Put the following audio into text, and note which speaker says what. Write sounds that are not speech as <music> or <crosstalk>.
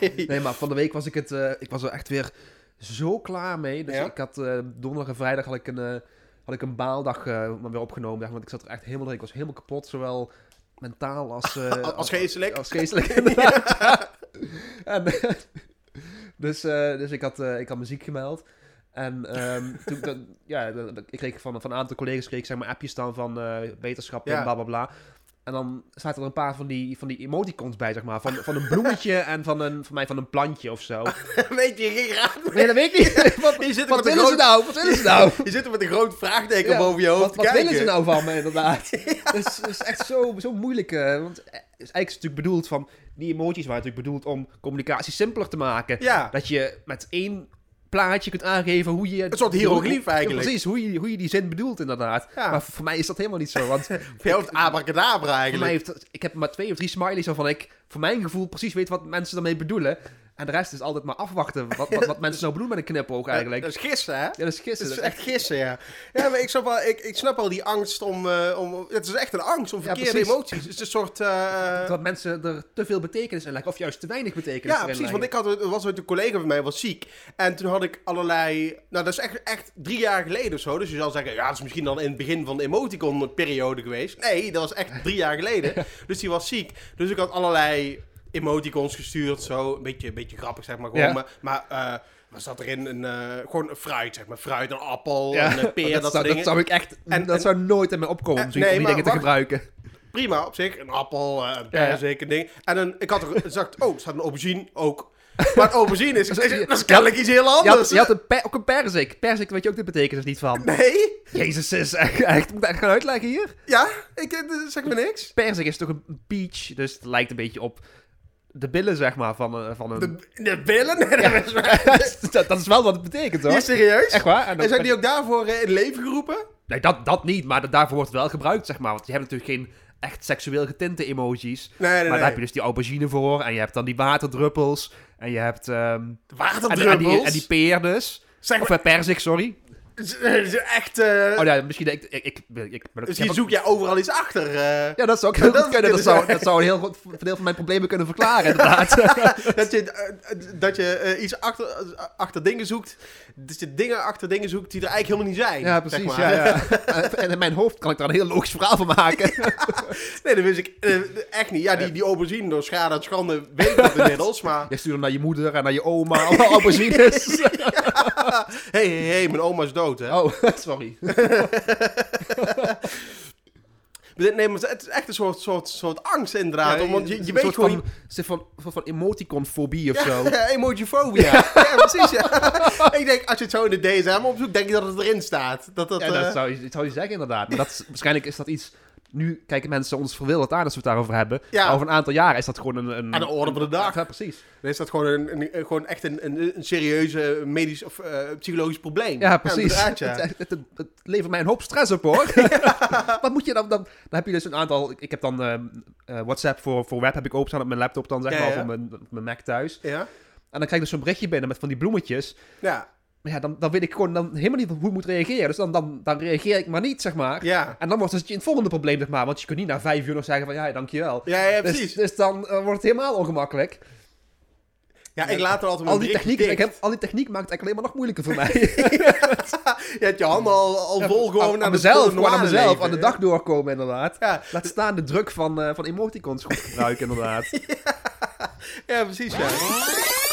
Speaker 1: nee.
Speaker 2: Nee, maar van de week was ik het. eh, ik was er echt weer zo klaar mee. Dus
Speaker 1: Ja?
Speaker 2: ik had eh, donderdag en vrijdag had ik een, eh, had ik een baaldag eh, maar weer opgenomen. Zeg, maar, want ik zat er echt helemaal. Ik was helemaal kapot, zowel mentaal als. eh,
Speaker 1: <laughs> Als- als
Speaker 2: <laughs>
Speaker 1: geestelijk.
Speaker 2: Als geestelijk. inderdaad, <laughs> ja. En, eh, dus, eh, dus ik had, eh, ik had muziek gemeld. En ehm, toen, ik dat- ja, dat- dat- ik kreeg van, van een aantal collega's kreeg, ik zeg maar, appjes dan van eh wetenschap en
Speaker 1: Ja.
Speaker 2: bla bla bla. En dan zaten er een paar van die, van die emoticons bij, zeg maar. Van, van een bloemetje en van, een, van mij van een plantje of zo.
Speaker 1: Weet je, geen raad.
Speaker 2: Nee, dat weet ik niet. Wat,
Speaker 1: <laughs> Je zit er
Speaker 2: wat
Speaker 1: met een
Speaker 2: willen ze
Speaker 1: groot-
Speaker 2: nou? Wat willen ze nou?
Speaker 1: <laughs> Je zit er met een groot vraagteken
Speaker 2: Ja,
Speaker 1: boven je hoofd
Speaker 2: Wat,
Speaker 1: te
Speaker 2: wat
Speaker 1: kijken.
Speaker 2: willen ze nou van me,
Speaker 1: <laughs>
Speaker 2: inderdaad? Het is, dat is echt zo, zo moeilijk. eh, want eh, het is eigenlijk natuurlijk bedoeld van... Die emojis waren natuurlijk bedoeld om communicatie simpeler te maken.
Speaker 1: Ja,
Speaker 2: Dat je met één plaatje kunt aangeven hoe je...
Speaker 1: Een soort hiëroglief eigenlijk.
Speaker 2: Ja, precies, hoe je, hoe je die zin bedoelt inderdaad.
Speaker 1: Ja.
Speaker 2: Maar voor mij is dat helemaal niet zo,
Speaker 1: <laughs>
Speaker 2: want...
Speaker 1: voor jou is het abracadabra
Speaker 2: Voor mij
Speaker 1: eigenlijk.
Speaker 2: heeft, ik heb maar twee of drie smileys waarvan ik voor mijn gevoel precies weet wat mensen daarmee bedoelen. En de rest is altijd maar afwachten wat, wat,
Speaker 1: <laughs>
Speaker 2: wat mensen nou bedoelen met een knipoog eigenlijk.
Speaker 1: Dat is gissen, hè?
Speaker 2: Ja, dat is
Speaker 1: Het
Speaker 2: gissen.
Speaker 1: is
Speaker 2: Dat is echt-
Speaker 1: dus- echt gissen, ja. Ja, maar ik snap, wel, ik, ik snap al die angst om, eh, om... Het is echt een angst om
Speaker 2: Ja,
Speaker 1: verkeerde
Speaker 2: precies.
Speaker 1: emoties. Het is een soort... eh,
Speaker 2: Dat mensen er te veel betekenis in leggen, of juist te weinig betekenis
Speaker 1: ja,
Speaker 2: erin
Speaker 1: precies.
Speaker 2: leggen.
Speaker 1: Want ik had, er was ooit een collega van mij, was ziek. En toen had ik allerlei... Nou, dat is echt, echt drie jaar geleden of zo. Dus je zal zeggen, ja, dat is misschien dan in het begin van de emoticon-periode geweest. Nee, dat was echt drie jaar
Speaker 2: <laughs>
Speaker 1: geleden. Dus die was ziek. Dus ik had allerlei emoticons gestuurd, zo. Een beetje, een beetje grappig, zeg maar. Gewoon.
Speaker 2: Ja.
Speaker 1: Maar, maar eh, wat zat erin? Een, eh, gewoon een fruit, zeg maar. Fruit, een appel,
Speaker 2: Ja,
Speaker 1: en een peer,
Speaker 2: maar dat,
Speaker 1: dat, soort
Speaker 2: zou,
Speaker 1: dingen.
Speaker 2: dat zou ik echt,
Speaker 1: En-
Speaker 2: dat
Speaker 1: en-
Speaker 2: zou nooit in me opkomen
Speaker 1: Eh,
Speaker 2: om zoiets
Speaker 1: nee,
Speaker 2: van die
Speaker 1: maar
Speaker 2: dingen te
Speaker 1: wacht.
Speaker 2: gebruiken.
Speaker 1: prima op zich. Een appel, eh, een
Speaker 2: Ja, ja.
Speaker 1: perzik, een ding. En dan, ik had er gezegd, oh, er staat een aubergine
Speaker 2: <laughs>
Speaker 1: ook. Maar een aubergine is, is, dat is kennelijk iets heel
Speaker 2: Je had,
Speaker 1: anders.
Speaker 2: je had een per- ook een perzik. Perzik weet je ook de betekenis niet van.
Speaker 1: Nee?
Speaker 2: Jezus, is echt, echt, moet ik dat gaan uitleggen hier?
Speaker 1: Ja? Ik, eh, zeg me niks.
Speaker 2: Perzik is toch een peach, dus het lijkt een beetje op de billen, zeg maar, van, een- van een...
Speaker 1: De, de billen? Nee, dat
Speaker 2: <laughs>
Speaker 1: is
Speaker 2: dat, dat is wel wat het betekent, hoor.
Speaker 1: Hier, serieus?
Speaker 2: Echt waar? En dan-
Speaker 1: En zijn die ook daarvoor eh, in leven geroepen?
Speaker 2: Nee, dat, dat niet, maar dat, daarvoor wordt het wel gebruikt, zeg maar. Want je hebt natuurlijk geen echt seksueel getinte emojis.
Speaker 1: Nee, nee,
Speaker 2: maar
Speaker 1: nee.
Speaker 2: daar heb je dus die aubergine voor, en je hebt dan die waterdruppels, en je hebt... ehm, en,
Speaker 1: Waterdruppels?
Speaker 2: en, die, en die peer dus.
Speaker 1: Zeg
Speaker 2: Of
Speaker 1: maar,
Speaker 2: eh, perzik, sorry.
Speaker 1: <laughs> z- z- echt... eh,
Speaker 2: Oh ja, misschien... Ik, ik, ik, ik, ik ben ook- ik heb
Speaker 1: misschien
Speaker 2: ook-
Speaker 1: Dus zoek jij overal iets achter. eh,
Speaker 2: Ja, dat
Speaker 1: <laughs>
Speaker 2: zou ook heel goed
Speaker 1: Dat zou
Speaker 2: kunnen. Dat
Speaker 1: kunnen
Speaker 2: zou,
Speaker 1: zijn.
Speaker 2: dat zou een heel groot deel van mijn problemen kunnen verklaren,
Speaker 1: <laughs>
Speaker 2: inderdaad.
Speaker 1: dat je, eh, eh, dat je eh, iets achter, eh, achter dingen zoekt. Dat je dingen achter dingen zoekt die er eigenlijk helemaal niet zijn.
Speaker 2: ja,
Speaker 1: zeg
Speaker 2: precies.
Speaker 1: maar.
Speaker 2: Ja, ja. En in mijn hoofd kan ik daar een heel logisch verhaal van
Speaker 1: <laughs>
Speaker 2: maken.
Speaker 1: Nee, dat wist ik eh, echt niet. Ja, die, die aubergine door schade en schande weet ik dat <laughs> inmiddels. Maar
Speaker 2: Je stuurt hem naar je moeder en naar je oma, allemaal
Speaker 1: <laughs>
Speaker 2: aubergines.
Speaker 1: hé, hé, hé, mijn oma is dood, hè.
Speaker 2: Oh, sorry.
Speaker 1: Nee, maar het is echt een soort, soort, soort angst inderdaad. om- want je, je
Speaker 2: Een
Speaker 1: weet
Speaker 2: soort
Speaker 1: gewoon...
Speaker 2: Van, een soort van, van, van emoticonfobie of zo.
Speaker 1: Ja, <laughs> emojifobia. <laughs> Ja, precies. Ja. ik denk, als je het zo in de DSM opzoekt, denk ik dat het erin staat. Dat dat...
Speaker 2: Ja, dat
Speaker 1: eh,
Speaker 2: zou, je, dat zou je zeggen, inderdaad. Maar dat, is- waarschijnlijk is dat iets... Nu kijken mensen ons verwilderd aan als we het daarover hebben.
Speaker 1: Ja.
Speaker 2: Maar over een aantal jaren is dat gewoon een... een
Speaker 1: Aan de orde van de dag.
Speaker 2: Ja, precies.
Speaker 1: Dan is dat gewoon, een, een- een- gewoon echt een, een, een serieuze medisch of eh, psychologisch probleem.
Speaker 2: Ja, precies.
Speaker 1: inderdaad, ja.
Speaker 2: Het, het, het- het levert mij een hoop stress op,
Speaker 1: <laughs>
Speaker 2: hoor. Wat moet je dan, dan... Dan heb je dus een aantal... Ik heb dan ehm, eh, WhatsApp voor, voor web heb ik openstaan op mijn laptop dan, zeg
Speaker 1: Ja,
Speaker 2: maar.
Speaker 1: ja.
Speaker 2: Of op mijn, op mijn Mac thuis.
Speaker 1: <laughs> Ja?
Speaker 2: En dan krijg ik dus zo'n berichtje binnen met van die bloemetjes.
Speaker 1: Ja.
Speaker 2: Maar ja, dan, dan weet ik gewoon dan helemaal niet hoe ik moet reageren. Dus dan, dan, dan reageer ik maar niet, zeg maar.
Speaker 1: Ja.
Speaker 2: En dan wordt dus het je het volgende probleem, zeg maar. Want je kunt niet na vijf uur nog zeggen van... Ja, dankjewel.
Speaker 1: Ja, ja,
Speaker 2: Dus-
Speaker 1: precies.
Speaker 2: Dus, dan eh, wordt het helemaal ongemakkelijk.
Speaker 1: ja, ik laat er altijd
Speaker 2: Al
Speaker 1: mijn
Speaker 2: die,
Speaker 1: berichtje
Speaker 2: techniek, ik
Speaker 1: dicht.
Speaker 2: heb, al die techniek maakt het eigenlijk alleen maar nog moeilijker voor mij.
Speaker 1: <laughs> Je hebt je handen al, al vol gewoon
Speaker 2: aan,
Speaker 1: naar
Speaker 2: aan
Speaker 1: de
Speaker 2: mezelf,
Speaker 1: normale
Speaker 2: gewoon aan mezelf,
Speaker 1: leven.
Speaker 2: aan de dag doorkomen inderdaad.
Speaker 1: Ja,
Speaker 2: Laat staan de
Speaker 1: <laughs>
Speaker 2: druk van, eh, van emoticons goed gebruiken inderdaad. <laughs>
Speaker 1: ja precies. Ja.